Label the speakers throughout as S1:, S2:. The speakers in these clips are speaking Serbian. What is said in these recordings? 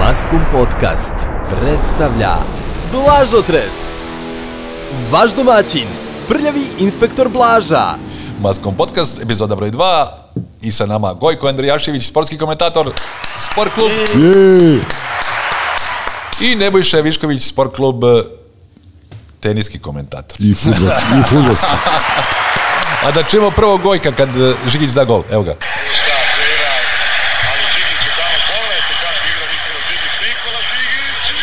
S1: Maskum Podcast predstavlja Blažotres Vaš domaćin, prljavi inspektor Blaža
S2: Maskom podcast, epizoda broj 2 i sa nama Gojko Andrijašević, sportski komentator, Sport klub. I Nebojša Višković, Sport klub, eh, teniski komentator.
S3: I futbolski, i futbolski.
S2: A da čujemo prvo Gojka kad eh, Žigić da gol, evo ga.
S4: Šta, Vera, ali Žigić je tamo, pogledajte kako igra Nikola Žigić. Nikola Žigić, je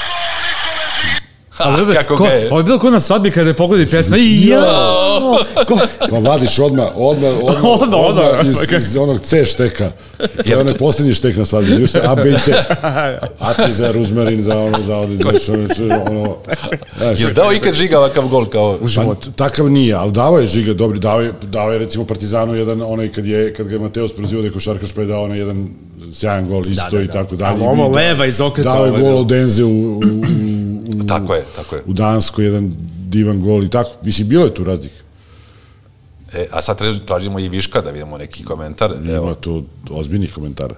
S4: Kakav gol Nikole Žigić!
S5: Ali dobro,
S2: kako
S5: ko,
S2: ga je.
S5: ovo je bilo kod na svadbi kada je pogodi pesma i ja, ko,
S3: Pa vadiš odmah, odmah, odmah,
S5: Odmah,
S3: odmah,
S5: odmah.
S3: iz, iz onog C šteka. To je onaj posljednji štek na svadbi. Just A, B i C. A ti za ruzmarin, za ono, za ono, znaš, ono, znaš, ono, znaš.
S2: Jel dao ikad Žiga ovakav gol kao...
S3: Pa, t- takav nije, ali davao je Žiga, dobri, davao je, davao je recimo Partizanu jedan, onaj kad, je, kad ga je Mateos prozivao da je košarkaš pa je dao onaj jedan sjajan gol isto i tako dalje.
S5: Ali ovo
S3: I da-
S5: leva iz okreta,
S3: Dao je
S5: ovo je
S3: gol
S5: bilo.
S3: od Enze u, u, u, u
S2: Pa, Tako je, tako je.
S3: u Danskoj jedan divan gol i tako. Mislim, bilo je tu razlika.
S2: E, a sad tra- tražimo i Viška da vidimo neki komentar. Evo,
S3: Nema tu ozbiljnih komentara.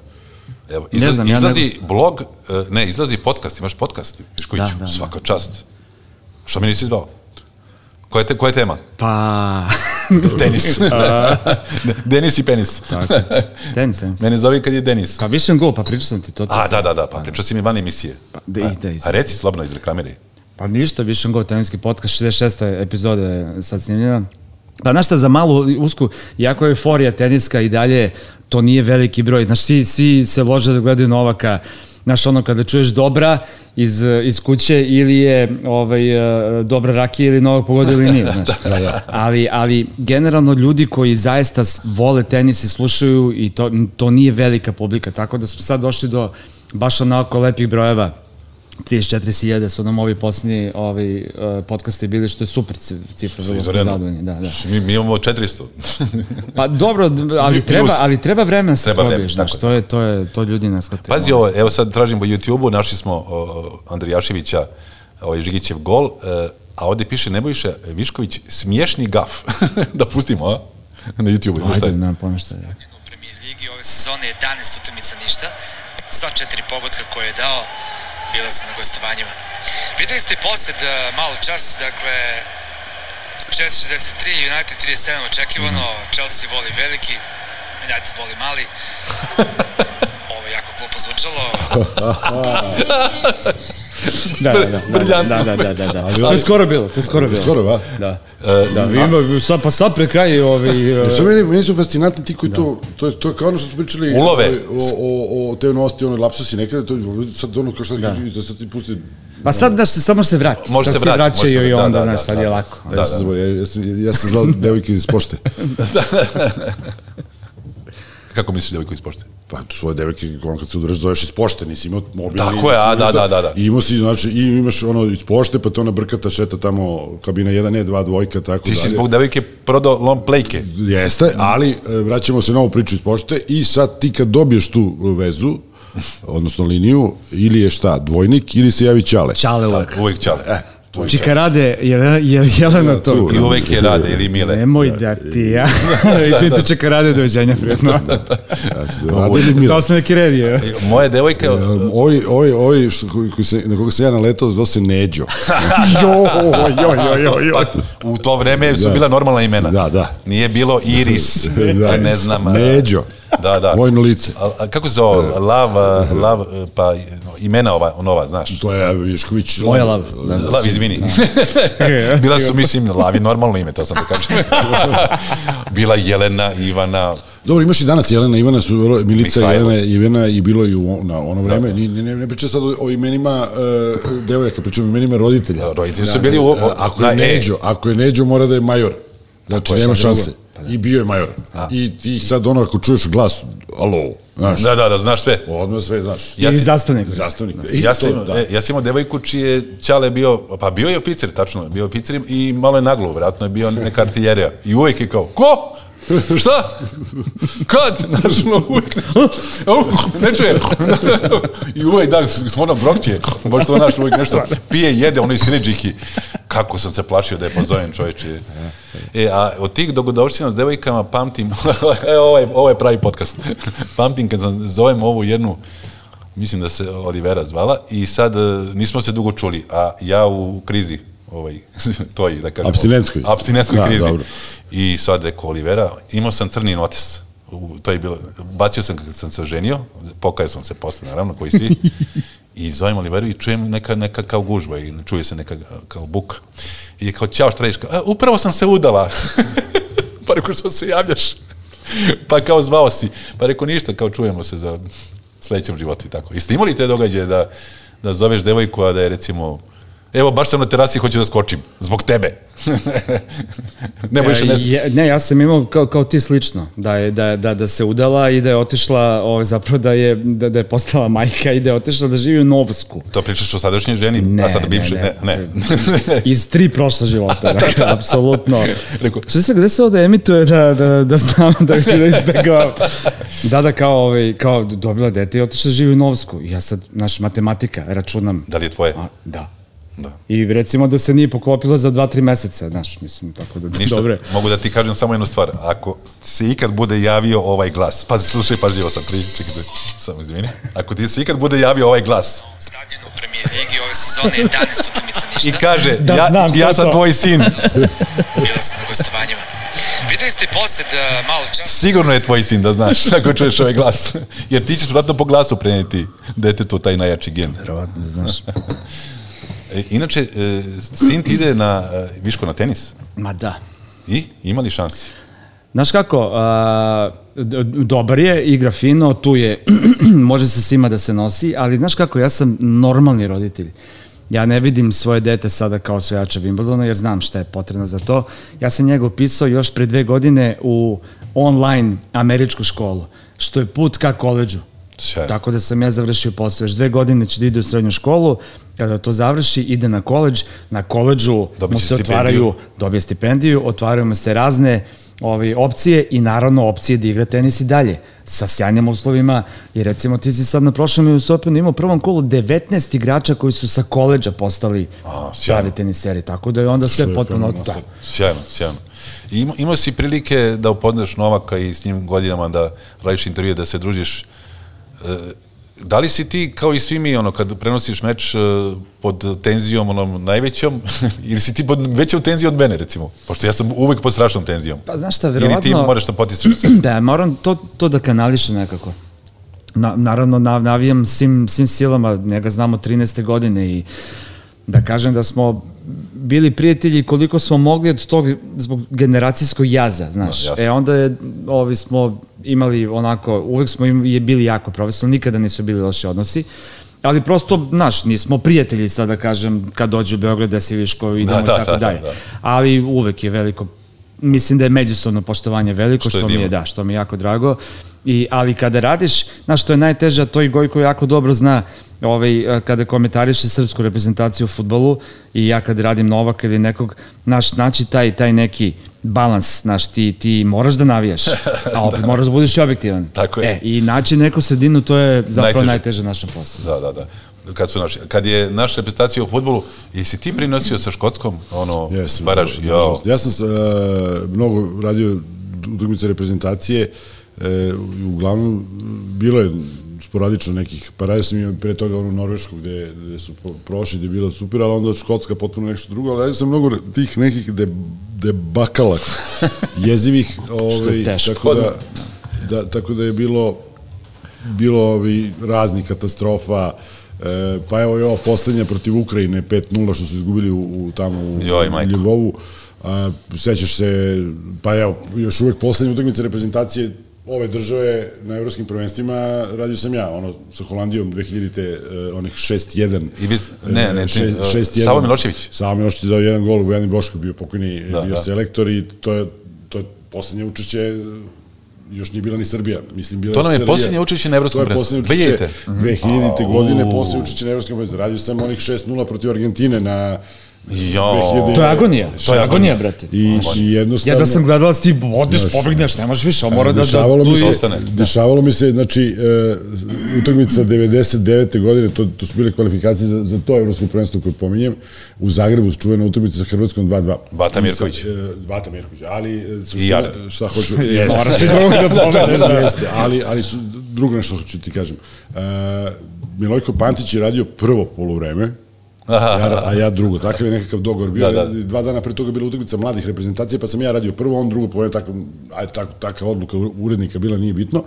S2: evo. Izlazi,
S5: znam, ja Mm. ne
S2: izlazi blog, eh, ne, izlazi podcast, imaš podcast, Višković,
S5: Da, da, da.
S2: svaka čast. Što mi nisi zvao? Koja je, te, koja je tema?
S5: Pa,
S2: Tenis. Denis i penis.
S5: ten sens.
S2: Mene zove kad je Denis.
S5: Pa više gol, pa pričao sam ti to. to.
S2: A, da, da, da, pa pričao si mi van emisije.
S5: Pa, da, i- da, i-
S2: A reci slobno iz reklamiraj.
S5: Pa ništa, više gol, teninski podcast, 66. epizoda je sad snimljena. Pa znaš šta, za malu usku, jako je euforija teniska i dalje, to nije veliki broj. Znaš, svi, svi se lože da gledaju Novaka, znaš, ono kada čuješ dobra iz, iz kuće ili je ovaj, e, dobra rakija ili Novak pogodio ili nije. Znaš. ali, ali generalno ljudi koji zaista s- vole tenis i slušaju i to, to nije velika publika, tako da smo sad došli do baš onako lepih brojeva. 34.000 su nam ovi posljednji ovi, uh, podcasti bili, što je super ci- cifra, vrlo smo
S2: izvanredno.
S5: zadovoljni. Da, da.
S2: Mi, mi imamo 400.
S5: Pa dobro, d- ali
S2: Plus.
S5: treba, ali treba vremena da se
S2: Treba vremena,
S5: probiješ, znaš,
S2: tako
S5: to je, to je, to ljudi nas shvataju. ono,
S2: Pazi ovo, evo sad tražim po YouTube-u, našli smo o, o, Andrijaševića, ovaj Žigićev gol, e, a ovdje piše Nebojša Višković, smiješni gaf. da pustimo, a? Na YouTube-u, ima šta
S5: Ajde,
S2: je?
S5: na ponešto. Da.
S6: u premijer ligi ove sezone 11 utakmica ništa. Sva četiri pogotka koje je dao bila su na gostovanjima. Videli ste posed e, malo čas, dakle 663, United 37 očekivano, Chelsea voli veliki, United voli mali. Ovo je jako glupo zvučalo,
S5: Da, da, da, da,
S2: briljantno. E,
S5: da, da, da, da, da.
S3: Ali
S5: To je
S3: ali-
S5: skoro bilo, to je skoro bilo.
S3: Skoro, ba?
S5: Da. Da, vidimo, sad, pa sad pre kraj ovi... e,
S3: Što meni, meni su fascinantni ti koji to, to, je, to je kao ono što smo pričali
S2: Ulove.
S3: o, o, o, o te novosti, ono lapsusi nekada, to je sad ono kao šta da. da sad ti pusti,
S5: Pa sad, znaš, samo se vrati.
S2: Može
S5: sad
S2: se vratit, može se
S5: vraćaju i
S2: vratit, da,
S5: onda,
S2: da,
S5: znaš,
S2: da,
S5: sad
S2: da.
S5: je lako. ono.
S3: da, ja, sam zaboravio, ja, sam, ja sam znao devojke iz pošte,
S2: Kako misliš da je koji ispošte?
S3: pa svoje devojke, ono kad se udaraš zoveš iz pošte, nisi imao mobilni.
S2: Tako je,
S3: nisi
S2: a,
S3: imao
S2: da,
S3: ništa.
S2: da, da, da.
S3: I imao si, znači, i imaš ono iz pošte, pa to ona brkata šeta tamo, kabina 1, ne, 2, dvojka, tako
S2: Ti si
S3: dalje.
S2: zbog devojke prodao long playke.
S3: Jeste, ali e, vraćamo se na ovu priču iz pošte i sad ti kad dobiješ tu vezu, odnosno liniju, ili je šta, dvojnik, ili se javi Ćale.
S5: Čale uvek.
S2: Uvijek čale.
S5: Čikarade, je, je, Jelena to.
S3: tu.
S2: I uvijek je rade ili mile.
S5: Nemoj da ti ja. Izvinite, čekarade doviđenja, prijatno.
S3: Rade ili Mile?
S5: Stao sam neki red je.
S2: Moja devojka,
S3: E, Ovi, ovi, ovi što, koji, koji se, na koga sam ja naletao, zvao se Neđo. joj, joj, joj, joj, joj.
S2: u to vreme su bila normalna imena.
S3: Da, da.
S2: Nije bilo Iris,
S3: Da.
S2: ne znam. a-
S3: Neđo.
S2: Da, da.
S3: Vojno lice.
S2: A, a kako se zove? Lav, a, lav, e, pa imena ova, nova, znaš.
S3: To je Višković.
S5: Moja lav.
S2: Lav, izvini. Bila su, mislim, Lavi, normalno ime, to sam da kažem. Bila Jelena, Ivana,
S3: Dobro, imaš i danas Jelena, Ivana su, vrlo- Milica,
S2: Mihajlo.
S3: Jelena, Ivana i bilo i u, na ono vreme. Ni, ne, ne, ne pričam sad o, o imenima uh, devojaka, pričam o imenima roditelja.
S2: roditelji su bili u...
S3: E, ako je
S2: na E.
S3: Neđo, ako je Neđo mora da je major. Znači, nema
S2: sad drugo. Pa
S3: šanse. I bio je major. I ti sad ono, ako čuješ glas, alo, znaš,
S2: Da, da, da, znaš sve.
S3: odmah sve znaš.
S2: Ja
S5: I
S2: si-
S5: zastavnik.
S3: Zastavnik. I
S2: Ja
S3: to, ono,
S2: sam, imao-
S3: da.
S2: e, ja sam imao devojku čije ćale bio, pa bio je oficir, tačno, bio je oficir i malo je naglo, vjerojatno je bio neka artiljerija. I uvijek je kao, ko? Šta? Kad? Znaš, ono, uvijek ne, Au, ne čuje. I uvijek da, ono brokće, baš to naš uvijek nešto pije, jede, ono i siređiki. kako sam se plašio da je pozovem čovječe. E, a od tih dogodovština s devojkama pamtim, e, ovaj, ovaj pravi podcast, pamtim kad sam, zovem ovu jednu, mislim da se Olivera zvala, i sad e, nismo se dugo čuli, a ja u krizi, ovaj, toj, da kažem.
S3: Apstinentskoj.
S2: Apstinentskoj
S3: Da,
S2: krizi.
S3: dobro.
S2: I sad rekao Olivera, imao sam crni notis. U, to je bilo, bacio sam kad sam se oženio, pokajao sam se posle, naravno, koji svi. I zovem Oliveru i čujem neka, neka kao gužba i čuje se neka kao buka. I je kao, ćao, šta radiš? Kao, "A, upravo sam se udala. pa rekao, što se javljaš? pa kao zvao si. Pa rekao, ništa, kao čujemo se za sledećem životu i tako. Jeste imali te događaje da, da zoveš devojku, a da je recimo Evo, baš sam na terasi i hoću da skočim. Zbog tebe. ne bojiš, ne znam.
S5: Ja, ne, ja sam imao kao, kao ti slično, da, je, da, da, da se udala i da je otišla, o, zapravo da je, da, da je postala majka i da je otišla da živi u Novsku.
S2: To pričaš o sadašnjoj ženi, a sad bivše, ne, ne.
S5: Iz tri prošla života, dakle, apsolutno.
S2: Rekao-
S5: Što se, gde se ovde emituje da, da, da znam da, da izbegavam? Da, da, kao, ovaj, kao dobila dete i otišla da živi u Novsku. I ja sad, naš matematika, računam.
S2: Da li je tvoje?
S5: A, da.
S2: Da.
S5: I recimo da se nije poklopilo za 2-3 meseca, znaš, mislim, tako da,
S2: Ništa,
S5: dobre.
S2: mogu da ti kažem samo jednu stvar. Ako se ikad bude javio ovaj glas, pazi, slušaj, pažljivo sam, pri, čekaj, samo izvini. Ako ti se ikad bude javio ovaj glas
S6: Stavljen u premijer ligi ove sezone 11 utakmica
S2: i
S6: ništa.
S2: kaže,
S5: Da,
S2: ja,
S5: znam ko
S2: ja
S5: je
S2: sam
S5: to.
S2: tvoj sin,
S6: Bila sam na gostovanjima. Videli ste posed uh, malo čas
S2: sigurno je tvoj sin, da znaš, ako čuješ ovaj glas. Jer ti ćeš vratno po glasu preneti detetu taj najjači gen.
S5: Verovatno, znaš.
S2: E, inače, e, sin ti ide na, e, Viško, na tenis?
S5: Ma da.
S2: I? Ima li šansi?
S5: Znaš kako, a, d- dobar je, igra fino, tu je, može se svima da se nosi, ali znaš kako, ja sam normalni roditelj. Ja ne vidim svoje dete sada kao osvajača Wimbledona, jer znam šta je potrebno za to. Ja sam njega upisao još pre dve godine u online američku školu, što je put ka koleđu.
S2: Sjajno.
S5: Tako da sam ja završio posao. Još dve godine će da ide u srednju školu, kada to završi, ide na koleđ. Na koleđu
S2: Dobit
S5: mu
S2: će
S5: se otvaraju, dobije stipendiju, otvaraju mu se razne ovaj, opcije i naravno opcije da igra tenis i dalje sa sjajnim uslovima i recimo ti si sad na prošlom US Openu imao u prvom kolu 19 igrača koji su sa koleđa postali
S2: A, sjajno.
S5: pravi teniseri, tako da je onda sve potpuno da.
S2: Sjajno, sjajno. I ima, imao si prilike da upoznaš Novaka i s njim godinama da radiš intervjue, da se družiš. E, da li si ti, kao i svi mi, ono, kad prenosiš meč e, pod tenzijom, onom najvećom, ili si ti pod većom tenzijom od mene, recimo? Pošto ja sam uvek pod strašnom tenzijom.
S5: Pa znaš šta,
S2: Ili ti
S5: verovatno-
S2: moraš da potisneš se.
S5: da, moram to, to da kanališem nekako. Na, naravno, nav, navijam svim, svim silama, njega znamo 13. godine i da kažem da smo bili prijatelji koliko smo mogli od tog zbog generacijskog jaza, znaš.
S2: Da,
S5: Da,
S2: jasno.
S5: e onda je, ovi smo imali onako, uvek smo im, je bili jako profesionalni, nikada nisu bili loši odnosi, ali prosto, znaš, nismo prijatelji sad da kažem, kad dođe u Beograd da se Viško idemo da, da, i tako da, dalje. Da, da. Ali uvek je veliko, mislim da je međusobno poštovanje veliko,
S2: Što
S5: što,
S2: je
S5: mi je
S2: divno.
S5: da, što mi je jako drago. I, ali kada radiš, znaš što je najteže, a to i Gojko jako dobro zna, ovaj, eh, kada komentariše srpsku reprezentaciju u futbolu i ja kad radim Novaka ili nekog, naš, naći taj, taj neki balans, znaš, ti, ti moraš da navijaš, a opet moraš da budeš i objektivan.
S2: Tako je.
S5: E, I naći neku sredinu, to je zapravo
S2: Najteže.
S5: najteže, najteže našem poslu.
S2: Da, da, da. Kad, su naši, kad je naša reprezentacija u futbolu, jesi ti prinosio sa Škotskom, ono, yes,
S3: Jesam,
S2: baraž,
S3: da,
S2: jo,
S3: nažalost. Ja sam e, mnogo radio utakmice reprezentacije, e, uglavnom bilo je sporadično nekih, pa radio sam i pre toga ono Norvešku gde, gde su po- prošli, gde je bilo super, ali onda Škotska potpuno nešto drugo, ali radio sam mnogo tih nekih de, debakala jezivih, ovaj,
S5: teško.
S3: tako da, da, tako da je bilo bilo ovi razni katastrofa, e, pa evo i ova poslednja protiv Ukrajine 5-0 što su izgubili u, u tamo u
S2: Joj, majko.
S3: Ljubovu. A, sećaš se, pa evo, još uvek poslednja utakmica reprezentacije ove države na evropskim prvenstvima radio sam ja, ono, sa Holandijom 2000-te, e, onih 6-1.
S2: I vi- ne, ne, ti-
S3: šest-
S2: e,
S3: 6-1.
S2: Savo Milošević.
S3: Savo Milošević je dao jedan gol, Vojani Boško je bio pokojni, da, bio
S2: da.
S3: da. selektor i to je, to je poslednje učešće e, još nije bila ni Srbija. Mislim, bila
S2: To nam je
S3: Srbija.
S2: poslednje učešće na evropskom
S3: To je poslednje
S2: prvenstvu. Mhm.
S3: učešće 2000. godine, poslednje učešće na evropskom prvenstvu. Radio sam onih 6-0 protiv Argentine na
S2: Jo.
S5: To je agonija. To je
S2: 16.
S5: agonija, brate.
S3: I, i jednostavno...
S5: Ja da sam gledalac, ti odiš,
S3: Znaš,
S5: pobegneš, nemaš više, ali mora da... da
S3: dešavalo
S5: tu
S3: mi se,
S5: je-
S2: ostane.
S3: dešavalo mi se, znači, e, utakmica 99. godine, to, to su bile kvalifikacije za, za to evropsko prvenstvo koje pominjem, u Zagrebu su čuvena utakmica sa Hrvatskom 2-2.
S2: Bata Mirković.
S3: E, Bata Mirković, ali... e,
S2: I Jaren.
S3: Šta hoću... Jeste.
S5: Moraš i drugog da pobegneš.
S3: da, jeste, ali, ali su, drugo nešto hoću ti kažem. E, Milojko Pantić je radio prvo polovreme, Ja, a ja drugo, takav je nekakav dogovor bio.
S2: Da,
S3: Da,
S2: da.
S3: da. Dva dana pre toga je bila utakmica mladih reprezentacija, pa sam ja radio prvo, on drugo, pogleda, tako, aj, tako, taka odluka urednika bila, nije bitno.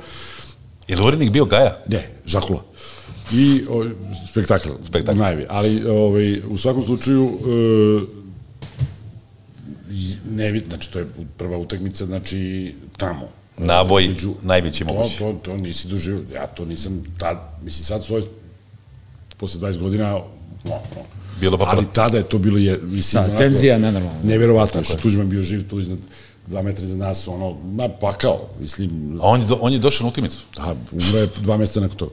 S2: Je li urednik bio Gaja?
S3: Ne, žakula. I o, spektakl,
S2: Spektakl.
S3: spektakl. Najvi. Ali ovaj, u svakom slučaju, e, i- ne vid, znači to je prva utakmica, znači tamo.
S2: Naboj
S3: Među-
S2: Pa najveći
S3: to,
S2: mogući.
S3: To, to nisi doživio, ja to nisam tad, mislim sad svoje, posle 20 godina, ono, no, no.
S2: Bilo pa
S3: Ali
S2: pro-
S3: tada je to bilo, je, mislim,
S5: Da,
S3: onako-
S5: tenzija je nenormalna.
S3: Neverovatno, što Tuđman bio živ tu iznad dva metra iza nas, ono, ma pakao, mislim,
S2: A on je, do, on je došao na utakmicu.
S3: a, umro je dva meseca nakon toga.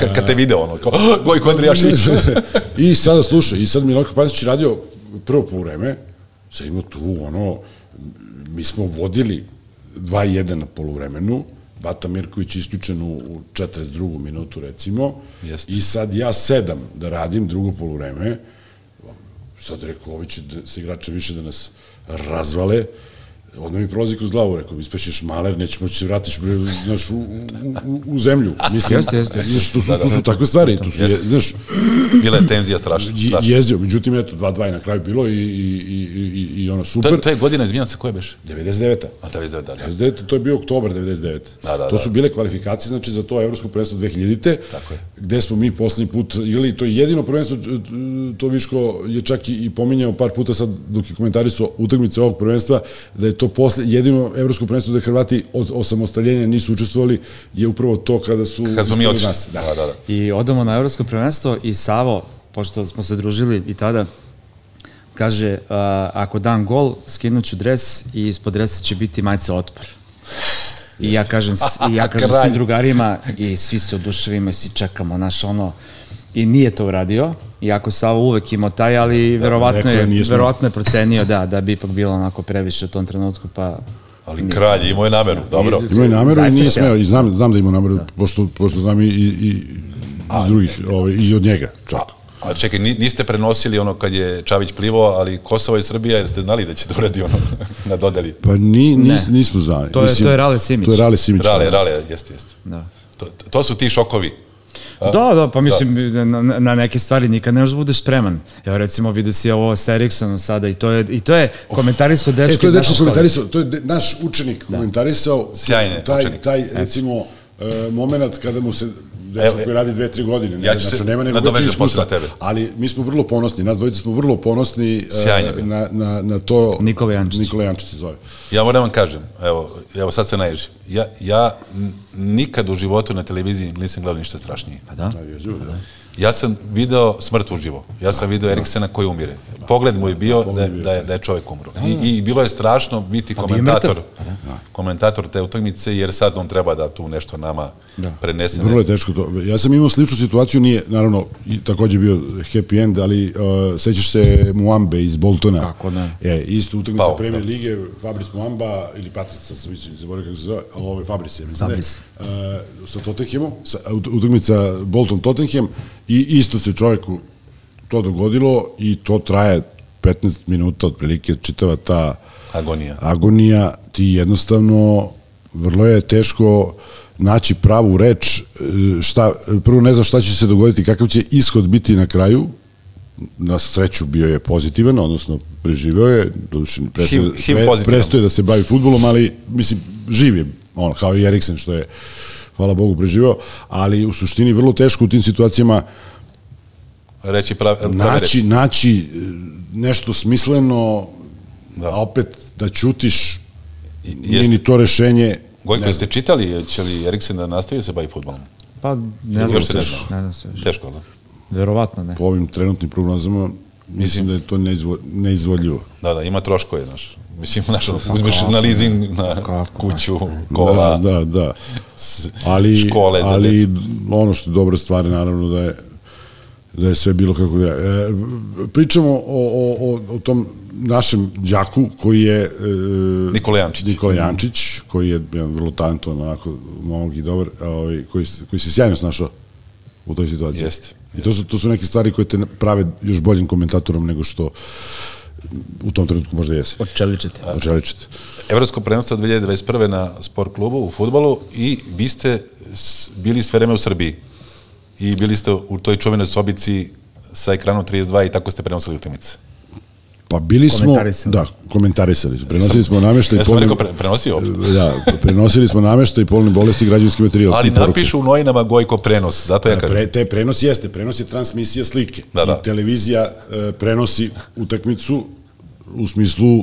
S2: Kad, kad te video ono, kao, "Ah, Gojko Andrijašić.
S3: I sada slušaj, i sad Milojko Pantić je radio prvo po vreme, sad imao tu ono, mi smo vodili 2-1 na poluvremenu, Bata Mirković isključen u, u 42. minutu recimo,
S2: Jeste.
S3: i sad ja sedam da radim drugo poluvreme, sad rekao, ovi će da, se igrače više da nas razvale, onda mi prolazi kroz glavu, rekao, ispaćeš maler, nećeš moći da se vratiš bre, znaš, u, u, u, u zemlju. Mislim,
S5: Jeste, jeste.
S3: Znaš, to su, to su takve stvari, to su, je, znaš,
S2: Bila je tenzija strašna.
S3: je-
S2: strašna.
S3: jezio, međutim, eto, 2-2 je na kraju bilo i, i, i, i, i ono
S2: To,
S3: super.
S2: je- to je godina, izvinjam se, koje beš?
S3: 99.
S2: A da vidite, da, da.
S3: 99. To je bio oktobar 99.
S2: Da, da,
S3: to
S2: da.
S3: su bile kvalifikacije, znači, za to evropsko prvenstvo 2000. Tako je. Gde smo mi poslednji put igrali, to je jedino prvenstvo, e, to Viško je čak i, i pominjao par puta sad, dok je komentarisao utakmice ovog prvenstva, da je to posle, jedino evropsko prvenstvo da Hrvati od osamostaljenja nisu učestvovali, je upravo to kada su...
S2: Kad smo mi
S3: ispali od
S2: otišli.
S3: nas.
S2: Da, da, da.
S5: I odemo na evropsko prvenstvo i Savo, pošto smo se družili i tada, kaže, uh, ako dam gol, skinuću dres i ispod dresa će biti majica otpor. I ja kažem, s- i ja kažem
S2: Kralj.
S5: svim drugarima i svi se oduševimo i svi čekamo, naš ono, i nije to uradio, iako Savo uvek imao taj, ali verovatno
S3: rekao
S5: je,
S3: je, nije smeo.
S5: verovatno je procenio da, da bi ipak bilo onako previše u tom trenutku, pa
S2: Ali kralj je imao je nameru, dobro.
S3: Imao je nameru i
S5: Zaista
S3: nije
S5: je
S3: smeo, i znam, znam da ima nameru, da. pošto, pošto znam i, i, i iz drugih, ovaj, i od njega čak.
S2: A čekaj, ni- niste prenosili ono kad je Čavić plivao, ali Kosovo i Srbija, jer ste znali da će da uradi ono na dodeli.
S3: Pa ni, nis, nismo znali.
S5: To je- to je Rale Simić.
S3: To je Rale Simić. E,
S2: Rale, rale, jeste, jeste.
S5: Da.
S2: To, to su ti šokovi.
S5: Da, da, pa mislim, da. na, na neke stvari nikad ne možeš da budeš spreman. Evo, recimo, vidio si ovo s Eriksonom sada i to je, i to je komentarisao dečki.
S3: E, to je
S5: iz
S3: dečko
S5: naše škole.
S3: komentarisao, to je de, naš učenik da. komentarisao
S2: Sjajne,
S3: taj,
S2: učenik.
S3: taj recimo, e, moment kada mu se
S2: Evo,
S3: dečko koji radi 2-3 godine, ne,
S2: ja ću se
S3: znači, nema nego
S2: nadovezati
S3: veće
S2: posle
S3: iskustva,
S2: na tebe.
S3: ali mi smo vrlo ponosni, nas dvojica smo vrlo ponosni e,
S2: Sjajno je bilo.
S3: na, na, na to...
S5: Nikola Jančić.
S3: Nikola Jančić se zove.
S2: Ja moram vam kažem, evo, evo sad se naježim. Ja, ja n- nikad u životu na televiziji nisam gledao ništa strašnije.
S5: Pa da.
S3: Da, jezivo, da.
S2: Ja sam video smrt uživo. Ja sam video Eriksena koji umire. Pogled mu je bio da, je- da, je, da je čovjek umro. I, I bilo je strašno biti
S5: bio je
S2: komentator,
S5: mrtav.
S2: komentator te utakmice, jer sad on treba da tu nešto nama prenese.
S3: Vrlo je teško to. Ja sam imao sličnu situaciju, nije, naravno, i takođe bio happy end, ali uh, sećaš se Muambe iz Boltona.
S5: Kako ne.
S3: E, isto utakmica
S2: Pao,
S3: Premier Lige, Fabris Muamba, ili Patrica, sam mislim, zaboravio kako se zove, a ovo je Fabris, ja mislim.
S5: Fabris.
S3: Da, je, uh, sa Tottenhamom, sa, ut- utakmica Bolton-Tottenham, i isto se čoveku to dogodilo i to traje 15 minuta otprilike, čitava ta
S2: Agonija.
S3: agonija ti jednostavno vrlo je teško naći pravu reč e, šta, prvo ne znaš šta će se dogoditi kakav će ishod biti na kraju na sreću bio je pozitivan odnosno preživeo je doduše prestoje,
S2: HIV pozitivan.
S3: prestoje da se bavi futbolom ali mislim živ je on kao i Eriksen što je hvala Bogu preživeo ali u suštini vrlo teško u tim situacijama
S2: Reći pravi,
S3: naći, naći e, nešto smisleno da. a opet da ćutiš nije ni to rešenje
S2: Gojko, jeste čitali, će li Eriksen da nastavi da se bavi futbolom?
S5: Pa ne znam
S2: Još se
S5: se
S2: ne
S5: još.
S2: zna.
S5: Ne znam se još.
S2: Teško, da?
S5: Verovatno ne.
S3: po ovim trenutnim prognozama mislim da je to neizvo, neizvodljivo.
S2: Da, da, ima troškove, znaš. Mislim, znaš, ono, uzmeš na leasing, na kuću, kola.
S3: Da, da, da. Ali,
S2: škole za
S3: ali
S2: decu.
S3: ono što je dobra stvar je naravno da je da je sve bilo kako da je. E, pričamo o, o, o, o tom našem đaku koji je e,
S2: Nikola Jančić.
S3: Nikola Jančić koji je jedan vrlo talentovan onako momak i dobar, a ovaj koji se- koji se sjajno snašao u toj situaciji.
S2: Jeste.
S3: I to su to su neke stvari koje te prave još boljim komentatorom nego što u tom trenutku možda jesi.
S5: Odčeličete.
S3: Očeličite.
S2: Evropsko prvenstvo 2021. na sport klubu u futbalu i vi ste s- bili sve vreme u Srbiji i bili ste u toj čuvenoj sobici sa ekranom 32 i tako ste prenosili utakmice.
S3: Pa bili smo,
S5: Komentarisali.
S3: da, komentarisali smo. Prenosili smo nameštaj
S2: Ja sam rekao pre, prenosio opet.
S3: da, prenosili smo nameštaj polne bolesti i građevinski materijal.
S2: Ali
S3: tu poruku.
S2: napišu u novinama Gojko prenos, zato ja
S3: Da,
S2: kažem.
S3: Pre, te prenos jeste, prenos je transmisija slike.
S2: Da, da.
S3: I televizija e, prenosi utakmicu u smislu e,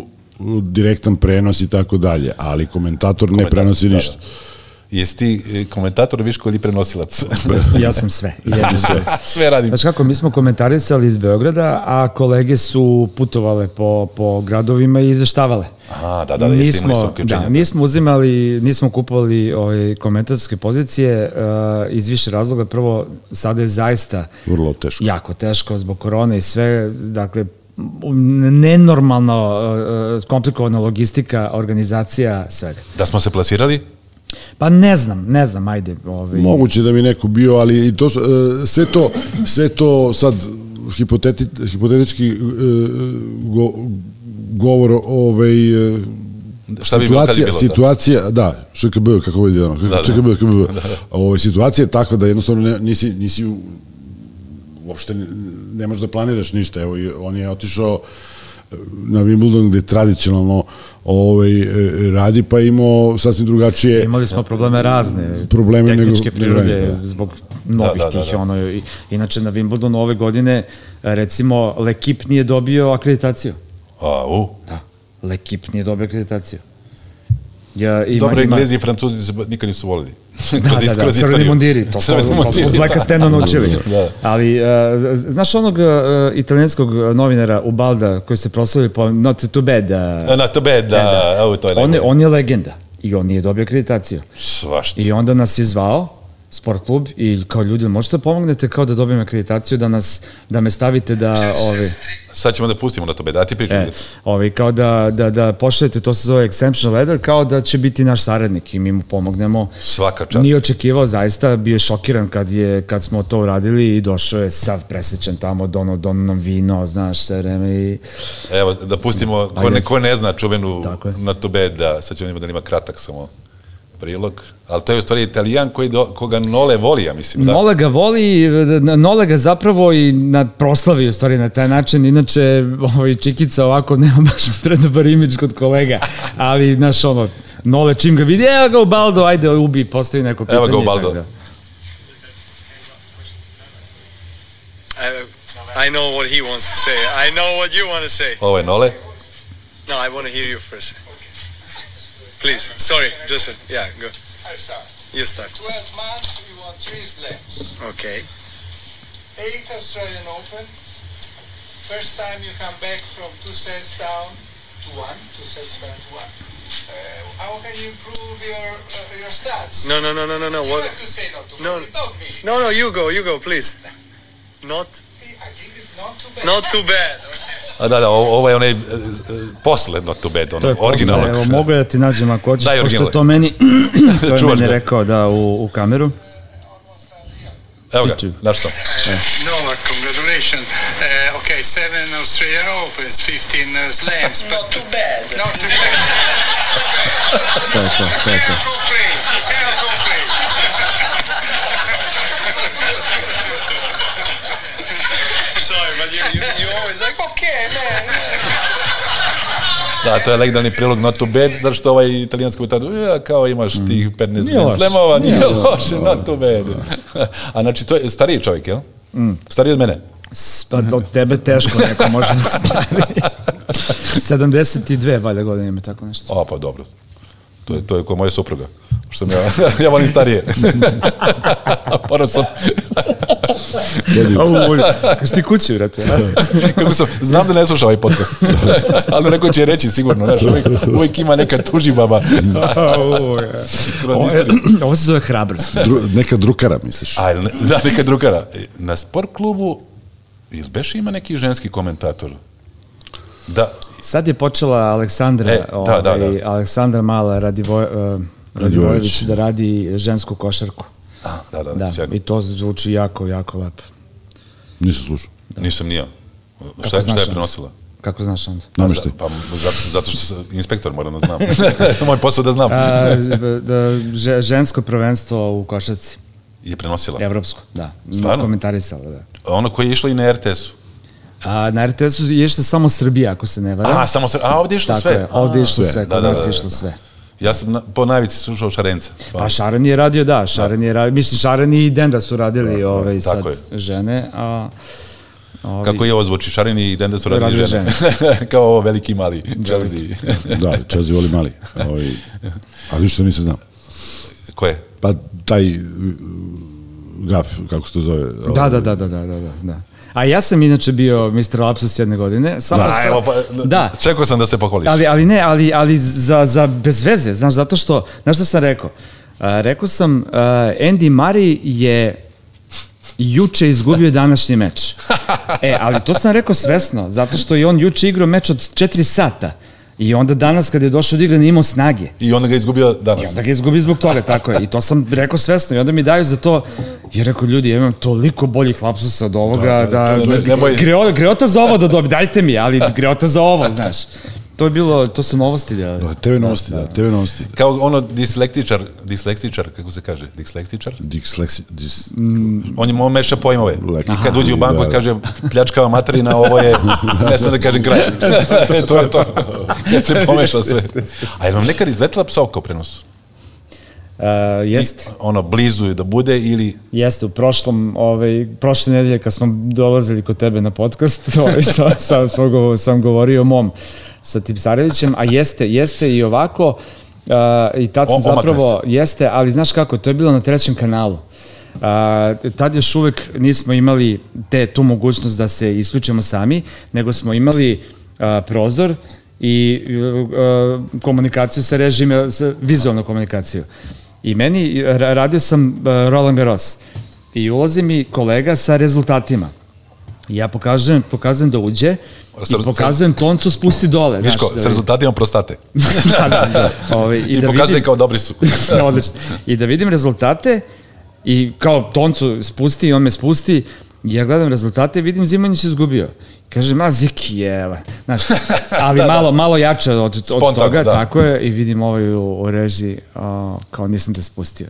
S3: direktan prenos i tako dalje, ali komentator ne prenosi
S2: da,
S3: ništa.
S2: Jesi ti e, komentator Viško ili prenosilac?
S5: Ja sam sve. Jedno sve.
S2: sve radim.
S5: Znači kako, mi smo komentarisali iz Beograda, a kolege su putovale po, po gradovima i izveštavale.
S2: Aha, da, da, da, jeste, imali su uključenje,
S5: da,
S2: da.
S5: nismo uzimali, nismo kupovali ove komentatorske pozicije uh, iz više razloga. Prvo, sada je zaista
S3: Vrlo teško.
S5: jako teško zbog korone i sve, dakle, m- nenormalno uh, komplikovana logistika, organizacija, svega.
S2: Da smo se plasirali?
S5: Pa ne znam, ne znam, ajde. Ovaj,
S3: Moguće da bi neko bio, ali i to, su- e, sve, to, sve to sad hipoteti, hipotetički e, go, govor ovaj, e,
S2: Šta bi bilo kad bi bilo,
S3: situacija,
S2: da?
S3: situacija, da, ŠKB, kako vidi ono, da,
S2: da.
S3: ŠKB, ŠKB, Ovaj, situacija je takva da jednostavno ne, nisi, nisi u, uopšte ne, ne možeš da planiraš ništa, evo, i on je otišao e, na Wimbledon gde tradicionalno ovaj, e, radi, pa je imao sasvim drugačije
S5: Imali smo probleme razne,
S3: Probleme nego-
S5: tehničke prirode,
S3: nego- da.
S5: zbog novih
S2: Da, da, da,
S5: tih,
S2: da.
S5: ono, i, inače na Wimbledonu ove godine, recimo, Lekip nije dobio akreditaciju.
S2: A, u.
S5: Da. Lekip nije dobio akreditaciju. Ja, ima,
S2: Dobro,
S5: ima,
S2: Englezi i Francuzi se nikad nisu volili.
S5: Da, da, da, crveni mundiri, to smo, to smo s Blacka Stena naučili.
S2: Da.
S5: Ali, uh, z- znaš onog uh, italijanskog novinara Ubalda koji se proslavio po Not Too Bad? Uh,
S2: E, Na to bed, da, evo to je
S5: on, je,
S2: najbolje.
S5: on je legenda i on nije dobio akreditaciju.
S2: Svašta.
S5: I onda nas je zvao sport klub i kao ljudi, možete da pomognete kao da dobijem akreditaciju, da nas, da me stavite da, ovi,
S2: Sad ćemo da pustimo na to bed, a ti pričam.
S5: e, ovi, kao da, da, da pošaljete, to se zove exemption letter, kao da će biti naš saradnik i mi mu pomognemo.
S2: Svaka čast.
S5: Nije očekivao zaista, bio je šokiran kad, je, kad smo to uradili i došao je sav presvećan tamo, dono, dono nam vino, znaš, sve vreme i...
S2: Evo, da pustimo, ko ne, ko ne zna čuvenu
S5: Tako je.
S2: na to bed, da, sad ćemo da ima kratak samo prilog, ali to je u stvari italijan koji do, koga Nole voli, ja mislim, da.
S5: Nole ga voli, Nole ga zapravo i na proslavi u stvari na taj način, inače ovaj, Čikica ovako nema baš predobar imidž kod kolega, ali znaš ono, Nole čim ga vidi, evo ga u Baldo, ajde ubi, postavi neko pitanje.
S2: Evo ga u Ono,
S5: tako
S2: Baldo.
S5: da.
S7: I, I know what he wants to say. I know what you want to say.
S2: Ovo je Nole.
S7: No, I want to hear you first. Please. Sorry, Justin. Yeah, go.
S8: I start.
S7: You start.
S8: 12 months, we won three slams.
S7: Okay.
S8: Eight Australian Open. First time you come back from two sets down to one, two sets down to one. Uh, how can you improve your uh, your stats?
S7: No, no, no, no, no, no.
S8: You
S7: What?
S8: have to say not to
S7: No.
S8: bad. Not me.
S7: No, no, you go, you go, please. Not,
S8: I give it not too bad.
S7: not too bad.
S2: A da, da, o- ovo je onaj e, e, posle not to bed,
S5: To
S2: ono,
S5: je originalno. Evo,
S2: originalan.
S5: mogu ja da ti nađem ako hoćeš,
S2: Daj
S5: pošto
S2: originalno.
S5: je to meni, to je
S2: Čuvaš ga.
S5: meni rekao da, u, u kameru.
S2: Evo ga,
S5: Piču.
S2: znaš što?
S8: Novak, congratulations. Uh, okay, seven Australian Opens, 15 uh, slams. not too bad. Not too bad.
S5: To je to, to je to.
S8: Cannot complain. Cannot complain.
S7: Sorry, but you, you, you always like, okay, man.
S2: Da, to je legendarni prilog not to bed, zato što ovaj italijanski komentar, ja, kao imaš tih 15
S5: Nije
S2: grand
S5: loše.
S2: slamova, nije,
S5: Nije
S2: loše, not to bed. A znači, to je stariji čovjek, jel? Stariji od mene.
S5: S- Pa od tebe teško neko može da stavi. 72 valjda godine ima tako nešto.
S2: A, pa dobro. To je, to je ko moja supruga. Što sam ja, ja volim starije. Moram sam,
S5: Ovo, kaš ti kući, vrate. a?
S2: kako sam, znam da ne sluša ovaj podcast, ali neko će reći sigurno, znaš, uvijek, uvijek ima neka tuži baba.
S5: Ovo, je. Ovo je- ovo se zove hrabrost.
S3: Dru, neka drukara, misliš?
S2: A, jel ne- da, neka drugara. Na sport klubu Jel beš ima neki ženski komentator? Da,
S5: Sad je počela Aleksandra,
S2: E, da,
S5: ovaj,
S2: da, da.
S5: Aleksandra Mala Radivo, eh, Radivojević da radi žensku košarku.
S2: a, da, da,
S5: Da,
S2: da,
S5: i to zvuči jako, jako lepo.
S3: Nisam slušao.
S2: nisam nija. Šta, je- šta je
S5: znaš,
S2: prenosila?
S5: Kako znaš onda?
S3: Nameštaj.
S2: Pa, zato, zato što sam inspektor, moram da znam. Moj posao da znam.
S5: A, z- da, že- žensko prvenstvo u košarci,
S2: je prenosila.
S5: evropsko, da.
S2: Stvarno?
S5: Komentarisala, da.
S2: Ono koje je išlo i na RTS-u.
S5: A na RTS-u je išla samo Srbija, ako se ne varam.
S2: A, samo se, a ovdje je išlo
S5: Tako
S2: sve.
S5: je, ovdje je išlo
S2: A,
S5: sve,
S2: da,
S5: kod
S2: da,
S5: nas
S2: da,
S5: je
S2: da,
S5: išlo
S2: da.
S5: sve.
S2: Ja sam na, po najvici slušao Šarenca.
S5: Pa Šaren je radio, da, Šaren je radio, mislim Šaren i Denda su radili ove sad
S2: tako
S5: žene, a ovi,
S2: Kako je ovo zvuči? Šarin i Dende su radili
S5: Radili
S2: žene. Kao ovo veliki i mali. Chelsea.
S3: Da, Chelsea voli mali. Ovaj, a ništa nisam znao.
S2: Ko je?
S3: Pa taj uh, gaf, kako se to zove? ovaj.
S5: Da, da, da, da, da, da, da, da. A ja sam inače bio Mr. Lapsus jedne godine, samo
S2: Da,
S5: sa-
S2: evo, pa,
S5: da,
S2: Čekao sam da se pohvališ.
S5: ali, ali ne, ali, ali za, za bez veze, znaš, zato što, znaš šta sam rekao? A, rekao sam, a, Andy Murray je juče izgubio današnji meč. E, ali to sam rekao svesno, zato što je on juče igrao meč od 4 sata. I onda danas kad je došao od igre nije imao snage.
S2: I onda ga je izgubio danas.
S5: I onda ga izgubi zbog toga, tako je. I to sam rekao svesno. I onda mi daju za to, ja rekao, ljudi, ja imam toliko boljih lapsusa od ovoga, da, da,
S2: to- to- nemoj-
S5: greo- greota za ovo da dobi, dajte mi, ali greota za ovo, znaš. To je bilo, to su novosti, da.
S3: Da, TV Pa, novosti, da, TV novosti.
S2: Kao ono dislektičar, dislektičar, kako se kaže? Dislektičar?
S3: Dislexi, dis,
S2: On je on meša pojmove.
S3: Lek-
S2: I kad uđe u banku
S3: Da.
S2: i kaže pljačkava materina, ovo je, ne smem da kažem kraj. to je to. Kad se pomeša sve. A je vam nekad izletila psovka u prenosu?
S5: E, jeste,
S2: Ono, blizu je da bude ili...
S5: jeste, u prošlom, ovaj, prošle nedelje kad smo dolazili kod tebe na podcast, ovaj, sam, sam, sam, govo- sam govorio o mom sa Tipsarevićem, a jeste, jeste i ovako, e, i tad sam
S2: O- omakne
S5: zapravo, jeste, ali znaš kako, to je bilo na trećem kanalu. A, tad još uvek nismo imali te, tu mogućnost da se isključimo sami, nego smo imali a, prozor i a, komunikaciju sa režime, sa vizualnu komunikaciju. I meni, ra- radio sam a, Roland Garros i ulazi mi kolega sa rezultatima. I ja pokazujem, pokazujem da uđe
S2: Sa-
S5: i pokazujem toncu spusti dole. znaš,
S2: Miško,
S5: da
S2: s
S5: vidim.
S2: rezultatima prostate.
S5: da, da, da. Ovaj,
S2: I, pokazuje kao dobri su.
S5: kao... Odlično. I da vidim rezultate i kao toncu spusti i on me spusti i ja gledam rezultate i vidim Zimanjić se izgubio. Kažem, a Ziki je, evo. Znaš, ali malo, malo jače od, od
S2: Spontano,
S5: toga,
S2: da.
S5: tako je, i vidim ovaj u, u režiji, a, kao nisam te spustio.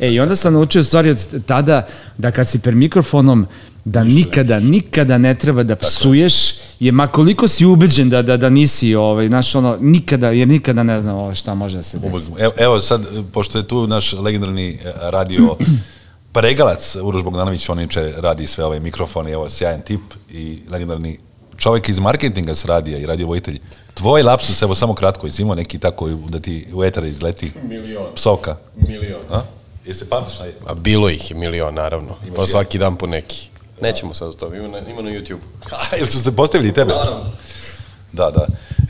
S5: e, i onda sam naučio u stvari od tada da kad si per mikrofonom, da nikada, nikada ne treba da psuješ, jer makoliko si ubeđen da, da, da nisi, ovaj, znaš, ono, nikada, jer nikada ne znam ovaj, šta može da se desi.
S2: Evo, evo sad, pošto je tu naš legendarni eh, radio pregalac Uroš Bogdanović, on inače radi sve ove mikrofone, evo sjajan tip i legendarni čovjek iz marketinga s radija i radiovojitelj. Tvoj lapsus, evo samo kratko, jesi imao neki tako da ti u etar izleti? Milion. Psovka.
S9: Milion.
S2: A? Jesi se pamtiš? na-
S9: A bilo ih je milion, naravno. Pa svaki dan po neki. Nećemo sad o tome, ima na, ima na YouTube.
S2: A, Pa, Jel su se postavili i tebe? Da, da.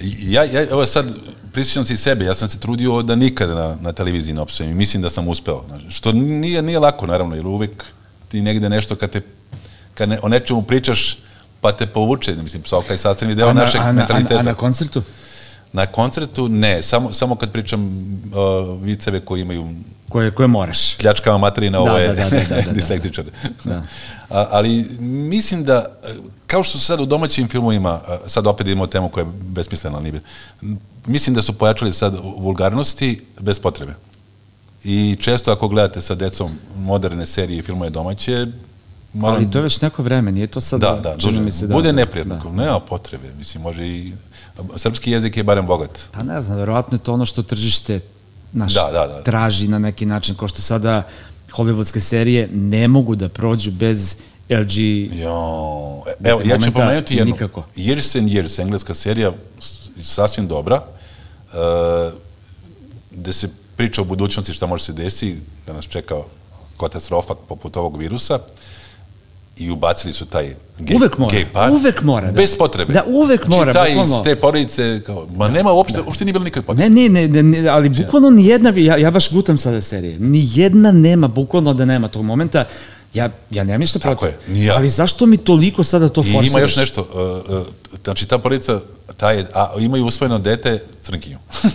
S2: I- i Ja, ja, evo sad, prisjećam se i sebe, ja sam se trudio da nikada na, na televiziji ne opsujem i mislim da sam uspeo. znaš. Što nije, nije lako, naravno, jer uvek ti negde nešto kad te, kad ne, o nečemu pričaš, pa te povuče, mislim, psovka je sastavni deo
S5: na-
S2: našeg
S5: a, na-
S2: mentaliteta.
S5: A, na- a na koncertu?
S2: na koncertu ne, samo, samo kad pričam uh, viceve koji imaju
S5: Koje, koje moraš?
S2: pljačkama materina, ovo
S5: Da,
S2: je
S5: da, da, da, da, da.
S2: dislektičar. A, ali mislim da, e, kao što sad u domaćim filmovima, e, sad opet imamo temu koja je besmislena, ali nije bi- mislim da su pojačali sad vulgarnosti bez potrebe. I često ako gledate sa decom moderne serije i filmove domaće, moram-
S5: Ali to je već neko vreme, nije to sad...
S2: da, da,
S5: čini
S2: duže.
S5: mi se da-
S2: bude
S5: da,
S2: neprijatno,
S5: da.
S2: nema potrebe, mislim, može i, srpski jezik je barem bogat.
S5: Pa ne znam, verovatno je to ono što tržište naš
S2: Da, da, da.
S5: traži na neki način, kao što sada hollywoodske serije ne mogu da prođu bez LG...
S2: Jo, e, evo, ja ću
S5: momenta
S2: pomenuti jednu.
S5: nikako.
S2: Years and Years, engleska serija, s- sasvim dobra, e, gde se priča o budućnosti šta može se desiti, da nas čeka katastrofa poput ovog virusa, i ubacili su taj gay,
S5: Uvek mora,
S2: gay par.
S5: uvek mora, da.
S2: Bez potrebe.
S5: Da, uvek mora,
S2: Znači, taj iz
S5: bukvalno.
S2: te porodice, kao, ma nema, uopšte, uopšte nije bilo nikakve potrebe.
S5: Ne, ne, ne, ne, ne, ali bukvalno nijedna, ja, ja baš gutam sada serije, nijedna nema, bukvalno da nema tog momenta, Ja, ja nemam ništa
S2: Tako
S5: protiv.
S2: je, ni ja.
S5: Ali zašto mi toliko sada to
S2: I
S5: forsiraš?
S2: ima još nešto, uh, uh, znači ta porodica, taj, je- a imaju usvojeno dete crnkinju.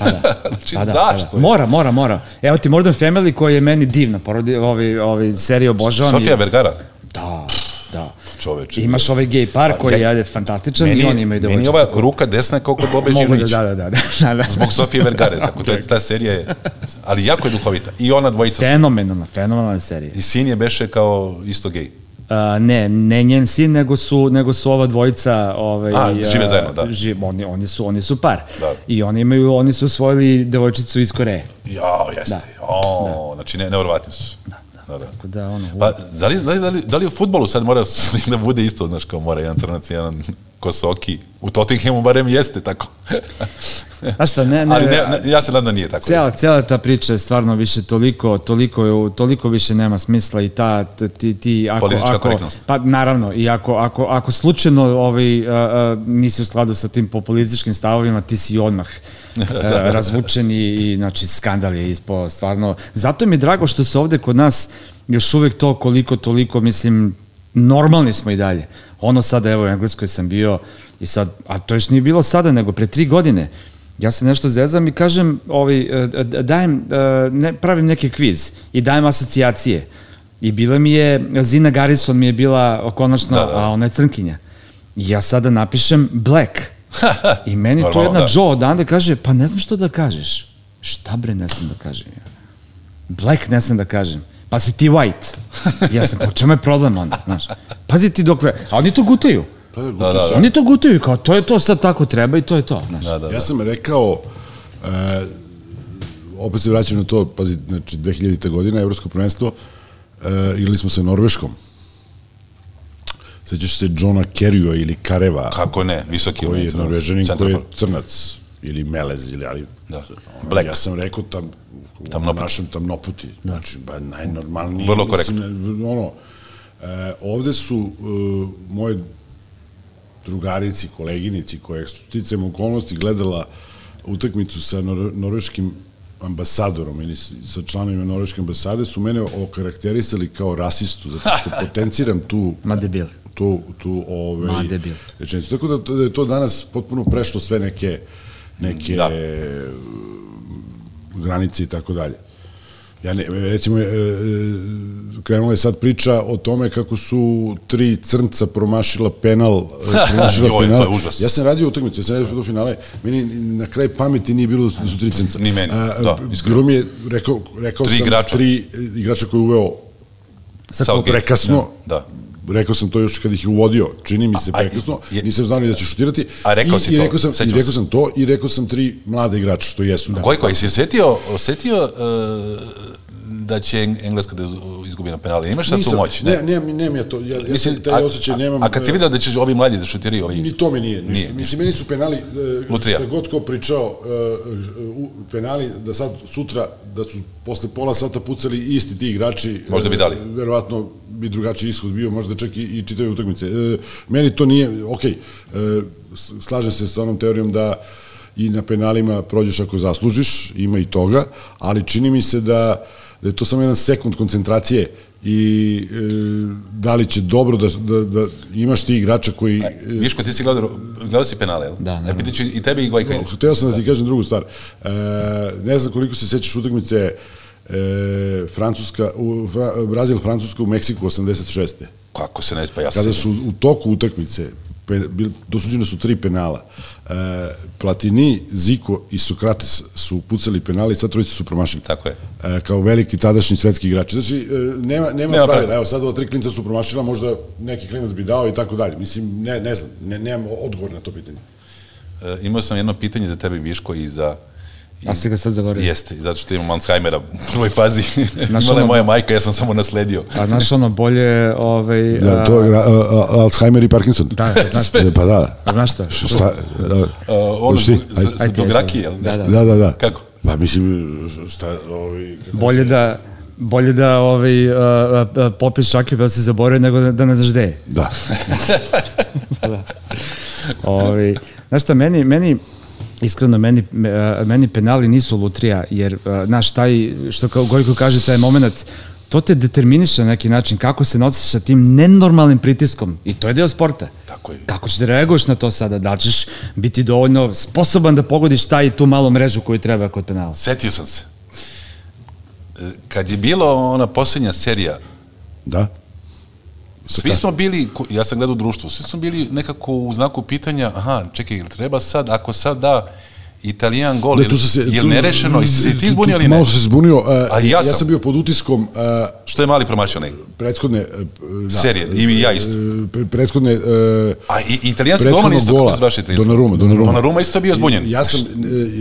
S2: znači,
S5: Pa da,
S2: zašto?
S5: pa da. Mora, mora, mora. Evo ti Modern Family koji je meni divna porodi, ovi, ovi serije obožavam.
S2: Sofija
S5: i-
S2: Vergara,
S5: Da, da.
S2: čoveče.
S5: Imaš ovaj gay par
S2: Pa,
S5: koji
S2: ja-
S5: je ajde, fantastičan
S2: meni,
S5: i oni imaju
S2: meni
S5: devojčicu.
S2: ova ruka desna je kao kod Bobe
S5: Mogu da,
S2: Živnovića.
S5: da, da, da, da, da.
S2: Zbog Sofije Vergare, tako da je ta serija je, ali jako je duhovita. I ona dvojica.
S5: Fenomenalna, fenomenalna serija.
S2: I sin je beše kao isto gej.
S5: A, ne, ne njen sin, nego su, nego su ova dvojica... Ovaj,
S2: A,
S5: a,
S2: žive zajedno, da.
S5: Živ, oni, oni, su, oni su par.
S2: Da.
S5: I oni, imaju, oni su osvojili devojčicu iz Koreje.
S2: Jao, jeste. O, znači ne, nevrovatni su. Da, da.
S5: Tako da, ono,
S2: Pa, da li, da, li, da, li, da li u futbolu sad mora s- da bude isto, znaš, kao mora jedan crnac, jedan kosoki. U Tottenhamu barem jeste tako.
S5: Znaš šta, ne, ne,
S2: Ali ne, ne, ja se nadam da nije tako.
S5: Cela, cela ta priča je stvarno više toliko, toliko, je, u- toliko više nema smisla i ta, t- ti, ti, ako,
S2: Politička
S5: ako,
S2: korektnost.
S5: pa naravno, i ako, ako, ako slučajno ovaj, a, a, nisi u skladu sa tim populističkim stavovima, ti si odmah e, a, razvučen i, i, znači, skandal je ispao, stvarno. Zato mi je drago što se ovde kod nas još uvek to koliko, toliko, mislim, normalni smo i dalje. Ono sada, evo, u Engleskoj sam bio i sad, a to još nije bilo sada, nego pre tri godine, ja se nešto zezam i kažem, ovaj, e, e, dajem, e, ne, pravim neki kviz i dajem asocijacije. I bila mi je, Zina Garrison mi je bila konačno,
S2: Da, da.
S5: a ona je crnkinja. I ja sada napišem black. I meni tu
S2: Normalno,
S5: jedna
S2: da.
S5: Joe odande kaže, pa ne znam što da kažeš. Šta bre ne znam da kažem ja? Black ne znam da kažem. Pa si ti white. Ja sam, po čemu je problem onda, znaš? Pazi ti dokle, a oni to gutaju.
S3: Pa, da,
S2: da, da.
S5: Oni to gutaju, kao to je to, sad tako treba i to je to, znaš.
S2: Da, da, da.
S3: Ja sam rekao, e, opet se vraćam na to, pazi, znači 2000. godina, evropsko prvenstvo, e, igrali smo se Norveškom. Sećaš se Johna Kerrya ili Kareva,
S2: Kako ne, visoki
S3: koji je
S2: crnac,
S3: norvežanin, koji je
S2: centrofor.
S3: crnac, ili melez, ili ali...
S2: Da.
S3: Ono,
S2: Black.
S3: Ja sam rekao tam, u
S2: Tamnoput.
S3: našem tamnoputi, znači, ba, najnormalniji.
S2: Vrlo
S3: mislim, ne, Ono, e, ovde su e, moje drugarici, koleginici koja je sticajem okolnosti gledala utakmicu sa nor norveškim ambasadorom ili s- sa članovima norveške ambasade su mene okarakterisali kao rasistu zato što potenciram tu
S5: Ma debil.
S3: tu tu ovaj
S5: Ma, debil.
S3: rečenicu tako da, da je to danas potpuno prešlo sve neke neke
S2: Da.
S3: da. granice i tako dalje Ja ne, recimo, e, e, krenula je sad priča o tome kako su tri crnca promašila penal. e, Promašila
S2: Joj, to je
S3: penal.
S2: užas.
S3: Ja sam radio utakmicu, ja sam radio do finale, meni na kraj pameti nije bilo da su tri crnca.
S2: Ni meni,
S3: A,
S2: da,
S3: b-
S2: iskreno.
S3: Bilo mi je, rekao, rekao
S2: Tri
S3: sam,
S2: igrača.
S3: tri e, igrača koji je uveo
S2: Southgate.
S3: prekasno.
S2: Da, da.
S3: Rekao sam to još kad ih je uvodio, čini mi se
S2: A, a,
S3: prekasno,
S2: je-
S3: nisam znao ni da će šutirati.
S2: A rekao
S3: I,
S2: si
S3: i
S2: to,
S3: rekao sam,
S2: sećam
S3: I rekao
S2: se.
S3: sam to i rekao sam tri mlade igrače, što jesu. Da.
S2: Koji, koji, si osjetio, osjetio uh, da će Engleska da izgubi na penali? Imaš sad tu
S3: Nisam,
S2: moć?
S3: Ne, ne, ne, ne, ja to, ja, ja sam taj osjećaj nemam.
S2: A, a kad si
S3: e,
S2: vidio da će ovi mlađi da šutiraju ovi...
S3: Ni to mi nije. Ništa.
S2: Nije,
S3: Nije.
S2: ništa.
S3: Mislim, meni su penali,
S2: Lutrija.
S3: Lutrija. šta god ko pričao, e, e, u- penali da sad sutra, da su posle pola sata pucali isti ti igrači.
S2: Možda bi dali.
S3: e, Verovatno bi drugačiji ishod bio, možda čak i, i čitave utakmice. E, Meni to nije, ok, e, slažem se sa onom teorijom da i na penalima prođeš ako zaslužiš, ima i toga, ali čini mi se da, da je to samo jedan sekund koncentracije i e, da li će dobro da, da, da imaš ti igrača koji... e,
S2: Viško, ti si gledao, gledao si penale, jel?
S5: Da,
S2: E,
S5: naravno.
S2: pitaću i tebi i Gojka.
S3: Hteo- Pa, Hteo sam da ti kažem drugu stvar. E, ne znam koliko se sećaš utakmice e, Francuska, u, Fra, Brazil, Francuska u Meksiku 86.
S2: Kako se ne, pa ja sam...
S3: Kada su u toku utakmice, pe, bil, dosuđene su tri penala. E, Platini, Ziko i Sokrates su pucali penale i sad trojice su promašili.
S2: Tako je.
S3: E, kao veliki tadašnji svetski igrači. Znači, e, nema, nema,
S2: Nema
S3: nema
S2: pravila.
S3: pravila. Evo, sad ova tri klinca su promašila, možda neki klinac bi dao i tako dalje. Mislim, ne, ne znam, ne, nemam odgovor na to pitanje.
S2: E, imao sam jedno pitanje za tebe, Viško, i za... i-
S5: A si ga sad zaboravio.
S2: Jeste, zato što imam Alzheimera u prvoj fazi.
S5: Znaš
S2: Imala je
S5: ono-
S2: moja majka, ja sam samo nasledio.
S5: A znaš ono, bolje, ovaj...
S3: Da, to
S5: a,
S3: je ra- a- a- Alzheimer i Parkinson.
S5: Da, znaš šta?
S3: E, Pa da.
S5: A Znaš šta?
S3: Šta? Da,
S2: E, ono,
S3: Hoćeš ti?
S2: za,
S3: Ajde.
S2: za zbog rakije, jel?
S5: Da, da.
S3: da, da, da.
S2: Kako?
S3: Pa mislim, šta, ovi... kako
S5: Bolje
S3: se-
S5: da bolje da ovaj a, a, a, popiš šake pa da si zaboravio nego da, da ne znaš gde je.
S3: Da.
S5: Ovaj znaš šta meni meni iskreno meni me- a, meni penali nisu lutrija jer a, znaš taj što kao Gojko kaže taj momenat to te determiniše na neki način kako se nosiš sa tim nenormalnim pritiskom i to je deo sporta.
S2: Tako je.
S5: Kako ćeš da reaguješ na to sada? Da li ćeš biti dovoljno sposoban da pogodiš taj i tu malu mrežu koju treba kod penala?
S2: Setio sam se. E, Kad je bila ona posljednja serija,
S3: Da?
S2: svi smo bili, ko- ja sam gledao društvo, svi smo bili nekako u znaku pitanja, aha, čekaj, ili treba sad, ako sad da Italijan gol,
S3: Da,
S2: ili,
S3: tu sam se...
S2: ili
S3: tu-
S2: nerešeno, jesi se
S3: tu-
S2: ti zbunio
S3: tu-
S2: ili ne?
S3: Malo sam se zbunio. Uh,
S2: A i ja
S3: ja, sam.
S2: sam.
S3: bio pod utiskom uh,
S2: Što je mali promašio negdje?
S3: prethodne... e, da,
S2: Serije, i ja isto.
S3: e, pre- prethodne... Uh,
S2: A i, i italijanski
S3: Prethodnog
S2: golman isto
S3: gola,
S2: kako se zvaše italijanski?
S3: Donnarumma, Donnarumma.
S2: Donnarumma isto je bio zbunjen.
S3: ja sam... e,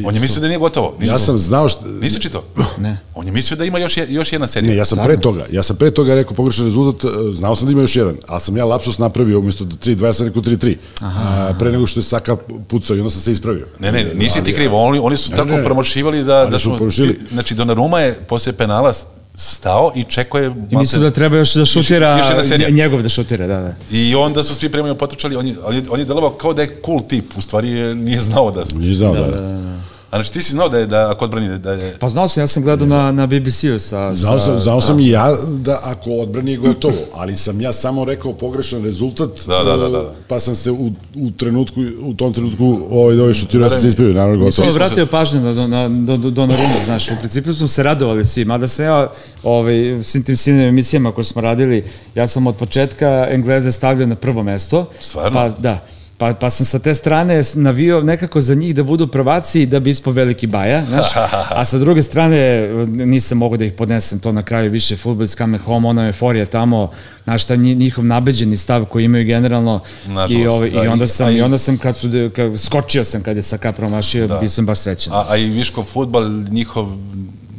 S2: On je mislio da nije gotovo.
S3: Ja sam znao što...
S2: Nisi čitao?
S5: Ne.
S2: On je mislio da ima još, je- još jedna serija.
S3: Ne, ja sam pre toga, ja sam pre toga rekao pogrešan rezultat, e, znao sam da ima još jedan, ali sam ja lapsus napravio umjesto da 3-2, ja sam rekao 3-3, a, pre nego što je Saka pucao i onda sam se ispravio.
S2: Ne, ne,
S3: E,
S2: nisi ti
S3: ali-
S2: kriv, oni, oni su
S3: Ne,
S2: tako
S3: ne, ne.
S2: promašivali da,
S3: Ali
S2: da
S3: su
S2: smo...
S3: promašili.
S2: ti- Znači, Donnarumma je posle penala stao i čekao je...
S5: I mislim da treba još da šutira,
S2: još jedna serija.
S5: njegov da šutira, da, da.
S2: I onda su svi prema njemu potrčali, on je, on je, on je delovao kao da je cool tip, u stvari je, nije znao da...
S3: Nije znao, da, da.
S2: A znači, ti si znao da je, da, ako odbrani, da je...
S5: Pa znao sam, ja sam gledao na, na BBC-u sa...
S3: Znao
S5: sa-
S3: sam, znao sam i ja da ako odbrani je gotovo, ali sam ja samo rekao pogrešan rezultat,
S2: Da, da, da, da.
S3: e, pa sam se u, u trenutku, u tom trenutku ovaj ovaj šutirao, ja sam se ispravio, naravno
S5: Nisam
S3: gotovo.
S5: obratio pažnju na, na, na, na Donnarumma, znaš, u principu smo se radovali svi, mada sam ja ovaj, u svim tim silnim emisijama koje smo radili, ja sam od početka Engleze stavljao na prvo mesto.
S2: Stvarno?
S5: Pa, da. Pa, pa sam sa te strane navio nekako za njih da budu prvaci i da bi ispao veliki baja, znaš. A sa druge strane nisam mogao da ih podnesem to na kraju više fudbal iz Kame Home, ona euforija tamo, znaš, ta nji- njihov nabeđeni stav koji imaju generalno. I,
S2: Nažalost,
S5: ovaj,
S2: da,
S5: I onda
S2: i-
S5: sam,
S2: a i-
S5: i onda sam kad su, de- kad, skočio sam kad je Saka promašio, bio sam baš srećan.
S2: A, a i Viškov futbal njihov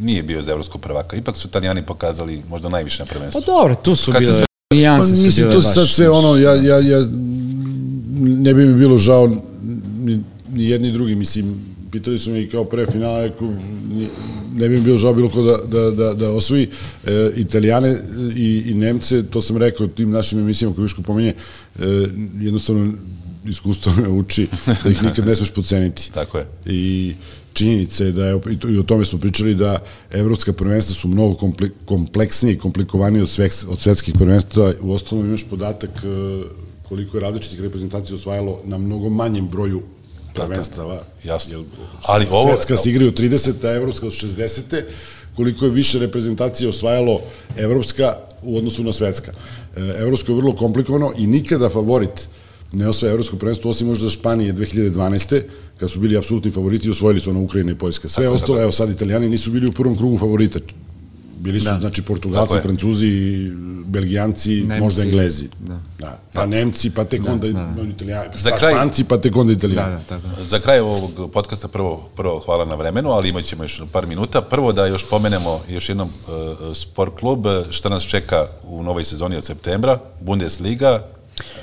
S2: nije bio za evropskog prvaka. Ipak su Italijani pokazali možda najviše na
S5: Pa
S2: prvenstvu.
S5: dobro, tu su
S2: Kad se
S5: bile
S2: sve-
S5: nijanse
S3: Pa,
S5: su
S3: mislim,
S5: bile
S3: to
S5: baš,
S3: sad sve
S5: znaš.
S3: ono, ja, ja, ja, ne bi mi bilo žao ni, ni jedni ni drugi, mislim, pitali su me i kao pre finala, rekao, ni- ne bi mi bilo žao bilo ko da, da, da, da osvoji e, Italijane i, i Nemce, to sam rekao tim našim emisijama koje Viško pominje, e, jednostavno iskustvo me uči da ih nikad ne smeš poceniti.
S2: Tako je.
S3: I činjenica je da je, i to- i o tome smo pričali, da evropska prvenstva su mnogo komple, kompleksnije i komplikovanije od, sveks, od svetskih prvenstva. U ostalom imaš podatak e, koliko je različitih reprezentacija osvajalo na mnogo manjem broju prvenstava.
S2: Jasno.
S3: Jer
S2: Ali ovo-
S3: Svetska se igraju 30, a evropska od 60. Koliko je više reprezentacija osvajalo evropska u odnosu na svetska. E, Evropsko je vrlo komplikovano i nikada favorit ne osvaja evropsko prvenstvo, osim možda Španije 2012. kad su bili apsolutni favoriti i osvojili su ono Ukrajina i Poljska. Sve ostalo, evo sad Italijani nisu bili u prvom krugu favorita. Bili su, znači, Portugalci,
S2: Tako je.
S3: Francuzi, Belgijanci,
S5: Nemci.
S3: možda Englezi.
S5: Da.
S3: Da. Pa Nemci, pa tek onda Italijani.
S2: Za
S3: Pa
S2: kraj-
S3: Španci, pa tek onda Italijani.
S5: Da, da, tako.
S2: Za kraj ovog podcasta prvo, prvo hvala na vremenu, ali imat ćemo još par minuta. Prvo da još pomenemo još jednom uh, sport klub, e, šta nas čeka u novoj sezoni od septembra, Bundesliga,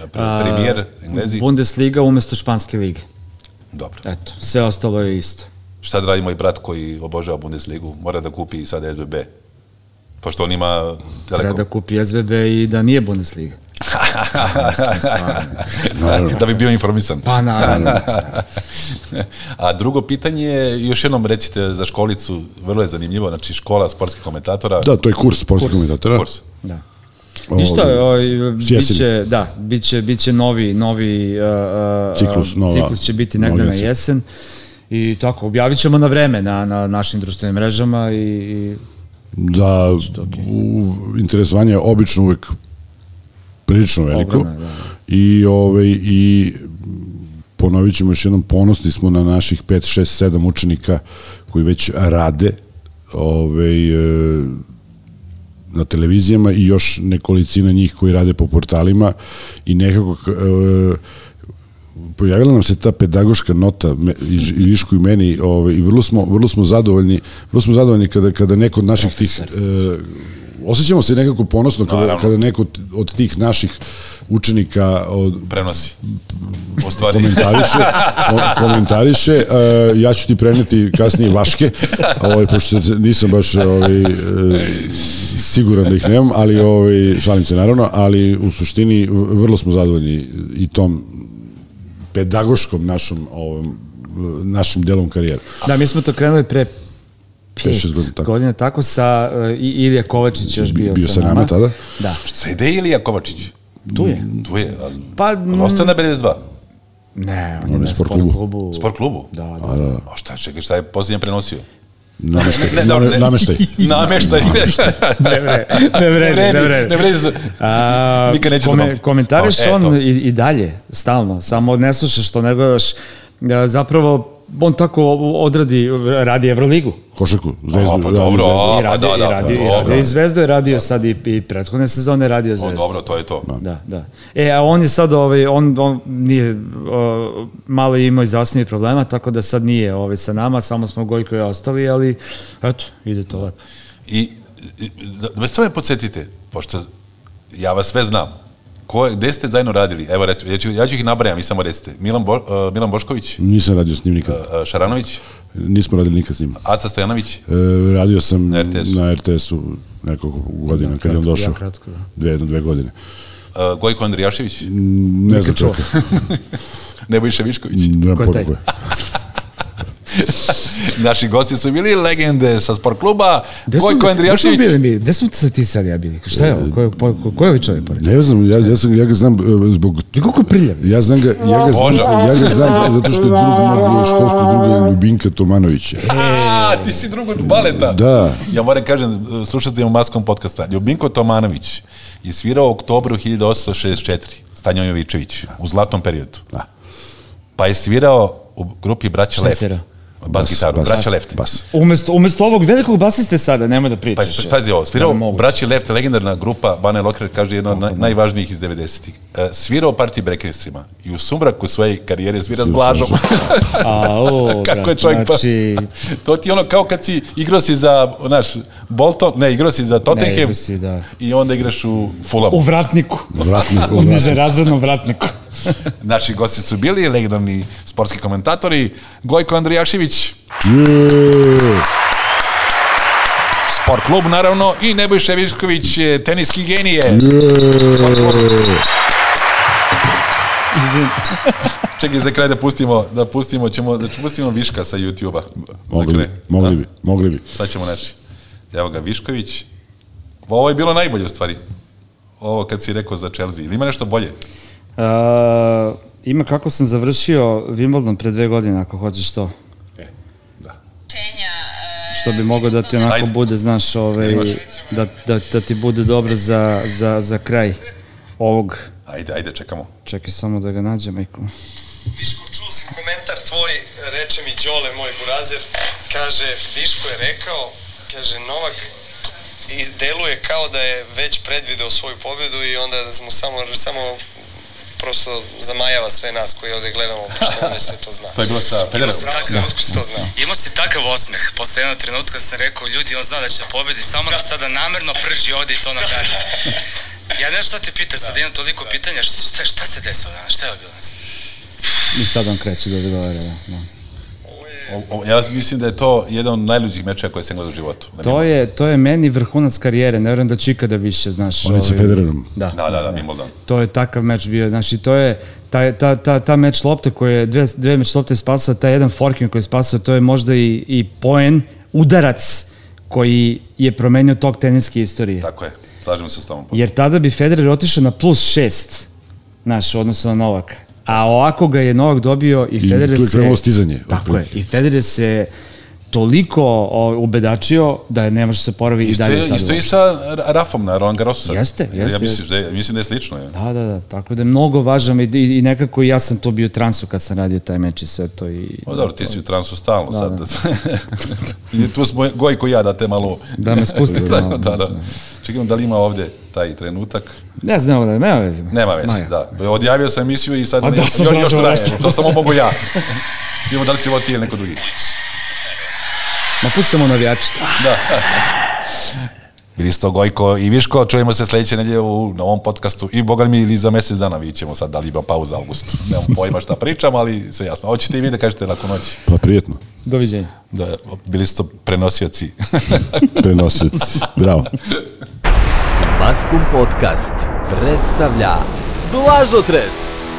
S2: e, pre- premijer, Englezi.
S5: Bundesliga umesto Španske lige.
S2: Dobro.
S5: Eto, sve ostalo je isto.
S2: Šta da radi moj brat koji obožava Bundesligu? Mora da kupi sad SBB. Pošto on ima
S5: Treba
S2: Telekom.
S5: da kupi SBB i da nije Bundesliga.
S2: da bi bio informisan.
S5: Pa naravno.
S2: A drugo pitanje, je, još jednom recite za školicu, vrlo je zanimljivo, znači škola sportskih komentatora.
S3: Da, to je kurs sportskog komentatora.
S2: Kurs.
S5: Da. Ništa, oj,
S3: s jeseni.
S5: biće, da, biće, biće novi, novi uh, uh,
S3: Ciklus, nova-
S5: ciklus će biti negde
S3: novi
S5: na
S3: ciklus.
S5: jesen. I tako, objavit ćemo na vreme na, na našim društvenim mrežama i, i
S3: Da, u, interesovanje je obično uvek prilično veliko.
S5: Ogromno, da, da.
S3: I, ovaj, I ponovit ćemo još jednom, ponosni smo na naših 5, 6, 7 učenika koji već rade ovaj, e, na televizijama i još nekolicina njih koji rade po portalima i nekako k- e, pojavila nam se ta pedagoška nota me, i, Ž- i Višku i meni ovaj, i vrlo smo, vrlo smo zadovoljni vrlo smo zadovoljni kada, kada neko od naših tih e, osjećamo se nekako ponosno kada, kada neko od- od tih naših učenika od,
S2: Prenosi. U stvari,
S3: komentariše, o- komentariše. E, ja ću ti preneti kasnije vaške, ovaj, pošto se- nisam baš ovaj, e, siguran da ih nemam, ali ovaj, šalim se naravno, ali u suštini v- vrlo smo zadovoljni i tom pedagoškom našom ovom, e, našim delom karijere.
S5: Da, mi smo to krenuli pre
S3: 5-6 godina, tako.
S5: godina tako sa e, i Ilija Kovačić još bio,
S3: Bio sa nama tada.
S5: Da.
S2: Sa ide Ilija Kovačić?
S5: Tu je.
S2: Tu je. a-
S5: Pa,
S2: ali Ostaje na 52.
S5: Ne,
S3: je na
S5: on, je na
S3: Ono sport
S5: sport
S3: klubu.
S5: klubu.
S2: Sport klubu?
S5: mm. Da, da.
S2: A šta, čekaj, šta je posljednje prenosio?
S3: Nameštaj.
S2: Ne, dobro,
S3: name,
S2: ne.
S3: nameštaj.
S2: Nameštaj.
S5: Ne vredi, ne vredi, ne vredi.
S2: Ne vredi.
S5: A,
S2: Nikad neću
S5: kome,
S2: zapamtiti.
S5: Komentariš
S2: E, to.
S5: on i, i dalje, stalno, samo ne slušaš to, nego još, e, zapravo, on tako odradi, radi Evroligu.
S3: Košaku, zvezdu.
S2: A, pa
S3: radi
S2: dobro,
S3: Zvezdu.
S2: a, pa
S5: I radi,
S2: da,
S5: i
S2: da, pa
S5: radi, i
S2: dobro.
S5: radio i Zvezdu je radio sad i, i prethodne sezone je radio
S2: O,
S5: Zvezdu.
S2: dobro, to je to.
S5: Da, da. E, a on je sad, ovaj, on, on nije, o, malo je imao i zdravstvenih problema, tako da sad nije ovaj, sa nama, samo smo Gojko i ostali, ali eto, ide to lepo.
S2: I, i- da, da me s tome podsjetite, pošto ja vas sve znam, ko, je- gde ste zajedno radili? Evo, recu, ja, ću, ja ću ih nabrajam, vi samo recite. Milan, Bo, uh, Milan Bošković, uh,
S3: Nisam radio s njim nikad.
S2: uh, Šaranović,
S3: Nismo radili nikad s njim.
S2: Aca Stojanović,
S3: E, radio sam
S2: Na RTS-u.
S3: na RTS-u nekoliko godina kad je on
S5: kratko,
S3: došao.
S5: ja kratko, da.
S3: Dve, jedno, dve godine.
S2: uh, Gojko Andrijašević,
S3: Ne znam čovjeka.
S2: Nebojša Višković.
S3: Nemam
S5: Ko je taj?
S3: pojma ko je.
S2: Naši gosti su bili legende sa sport kluba.
S5: Gde smo,
S2: Gojko
S5: gde smo
S2: Andrijašević.
S5: bili mi? Gde smo sad ti sad ja bili? Šta je ovo? Ko je, ko, ko, ko je ovaj čovjek pored?
S3: Ne znam, ja, ja, sam, ja ga znam e, zbog...
S5: Ti koliko je priljav?
S3: Ja znam ga, ja ga znam,
S2: Boža.
S3: ja ga znam zato što je drug mog školskog druga Ljubinka Tomanovića.
S2: A, ti si drug od baleta.
S3: Da.
S2: Ja moram kažem, slušateljima Maskom podcasta, Ljubinko Tomanović je svirao u oktobru 1864, Stanjo Jovičević, u zlatnom periodu. Da. Pa je svirao u grupi Braća
S5: je
S2: Left.
S5: svirao?
S2: Bas gitaru, Braća Left.
S3: Bas.
S5: Umesto, umesto ovog velikog basiste sada, nemoj da pričaš.
S2: Pazi, Pa pazi ovo, svirao
S5: Da, moguće.
S2: Braći Left, legendarna grupa, Bane Lokrer kaže jedna od naj, najvažnijih iz 90-ih. E, svirao party breakersima i u sumraku svoje karijere svira s Blažom.
S5: A, o,
S2: Kako je
S5: brate,
S2: čovjek
S5: znači,
S2: pa... To ti je ono kao kad si igrao si za, znaš, Bolton, ne, igrao si za Tottenham
S5: igrao si, da.
S2: i onda igraš u Fulham.
S5: U vratniku.
S3: Vratnik,
S5: U nižerazrednom vratniku.
S2: Naši gosti su bili legendarni sportski komentatori Gojko Andrijašević,
S3: Jeee.
S2: Sport klub naravno i Nebojša Višković, e, teniski genije. Sport klub.
S5: Izvim.
S2: Čekaj za kraj da pustimo, da pustimo, ćemo, da pustimo Viška sa YouTube-a. Za
S3: Mogli
S2: kraj.
S3: bi, mogli bi, mogli bi.
S2: Sad ćemo naći. Evo ga, Višković. Ovo je bilo najbolje u stvari. Ovo kad si rekao za Chelsea. Ili ima nešto bolje?
S5: A, ima kako sam završio Wimbledon pre dve godine, ako hoćeš to. Što bi mogao da ti onako
S2: Ajde.
S5: bude, znaš, ovaj, da, da, da ti bude dobro za, za, za kraj ovog.
S2: Ajde, ajde, čekamo.
S5: Čekaj samo da ga nađem, majko.
S7: Viško, čuo sam komentar tvoj, reče mi Đole, moj burazer, kaže, Viško je rekao, kaže, Novak i deluje kao da je već predvideo svoju pobjedu i onda smo samo, samo prosto zamajava sve nas koji ovde gledamo, što već se to zna.
S2: To je bilo sa Federerom.
S7: Bravo, otkud si to znao?
S6: Imao si takav osmeh. Posle jednog trenutka sam rekao, ljudi, on zna da će pobedi, samo da sada namerno prži ovde i to na dalje. Ja ne znam šta te pita, sad imam toliko pitanja, šta, šta, šta se desilo danas, šta je bilo danas?
S5: I sad on kreće da odgovara. Da, da.
S2: O- o- Ja mislim da je to jedan od najluđih mečeva koje sam gledao u životu.
S5: To je, to je meni vrhunac karijere, ne vjerujem da će ikada više, znaš.
S3: On je sa
S5: ovaj,
S3: Federerom.
S5: Da,
S2: Da, da, da, Wimbledon.
S5: to je takav meč bio, znači to je ta, ta, ta, ta meč lopte koja je dve, dve meč lopte spasao, taj jedan forking koji je spasao, to je možda i, i poen, udarac koji je promenio tok teniske istorije.
S2: Tako je. Slažem se s tobom.
S5: Jer tada bi Federer otišao na plus šest, znaš, odnosno na Novaka. A ovako ga je Novak dobio i Federer
S3: tu je
S5: se...
S3: krenulo stizanje,
S5: Tako je.
S3: otprilike.
S5: I Federer se toliko o, ubedačio da je ne može se poravi i
S2: Isto
S5: dalje.
S2: je,
S5: tada
S2: isto je i
S5: uopšte.
S2: sa Ra- Rafom na Roland Garrosu. sad.
S5: Jeste,
S2: Ja- Ja
S5: jeste,
S2: mislim
S5: jeste.
S2: da je, mislim da je slično. Je.
S5: Da, da, da, tako da je mnogo važan i, i, i nekako ja sam to bio u transu kad sam radio taj meč i sve to i...
S2: O, dobro, ti si u transu stalno sad. I tu smo Gojko i ja da te malo...
S5: Da me spustite
S2: da,
S5: malo.
S2: da, da. Čekam da li ima ovde taj trenutak.
S5: Ne znam, ne, nema veze.
S2: Nema veze,
S5: Maja.
S2: da. Odjavio sam emisiju i sad
S5: A
S2: ne,
S5: da, sam
S2: još, još
S5: tražio
S2: traje.
S5: nešto.
S2: To samo mogu ja. Imamo da li si ovo ti ili neko drugi.
S5: Ma pustimo navijači.
S2: Bili ste Gojko i Viško, čujemo se sledeće nedelje u novom podcastu i boga mi ili za mesec dana vidjet ćemo sad da li ima pauza u augustu. Nemam pojma šta pričam, ali sve jasno. Hoćete i vi da kažete lako noći.
S3: Pa prijetno.
S5: Doviđenja.
S2: Da, bili ste prenosioci.
S3: Prenosioci. Bravo.
S1: Maskum Podcast predstavlja Blažotres,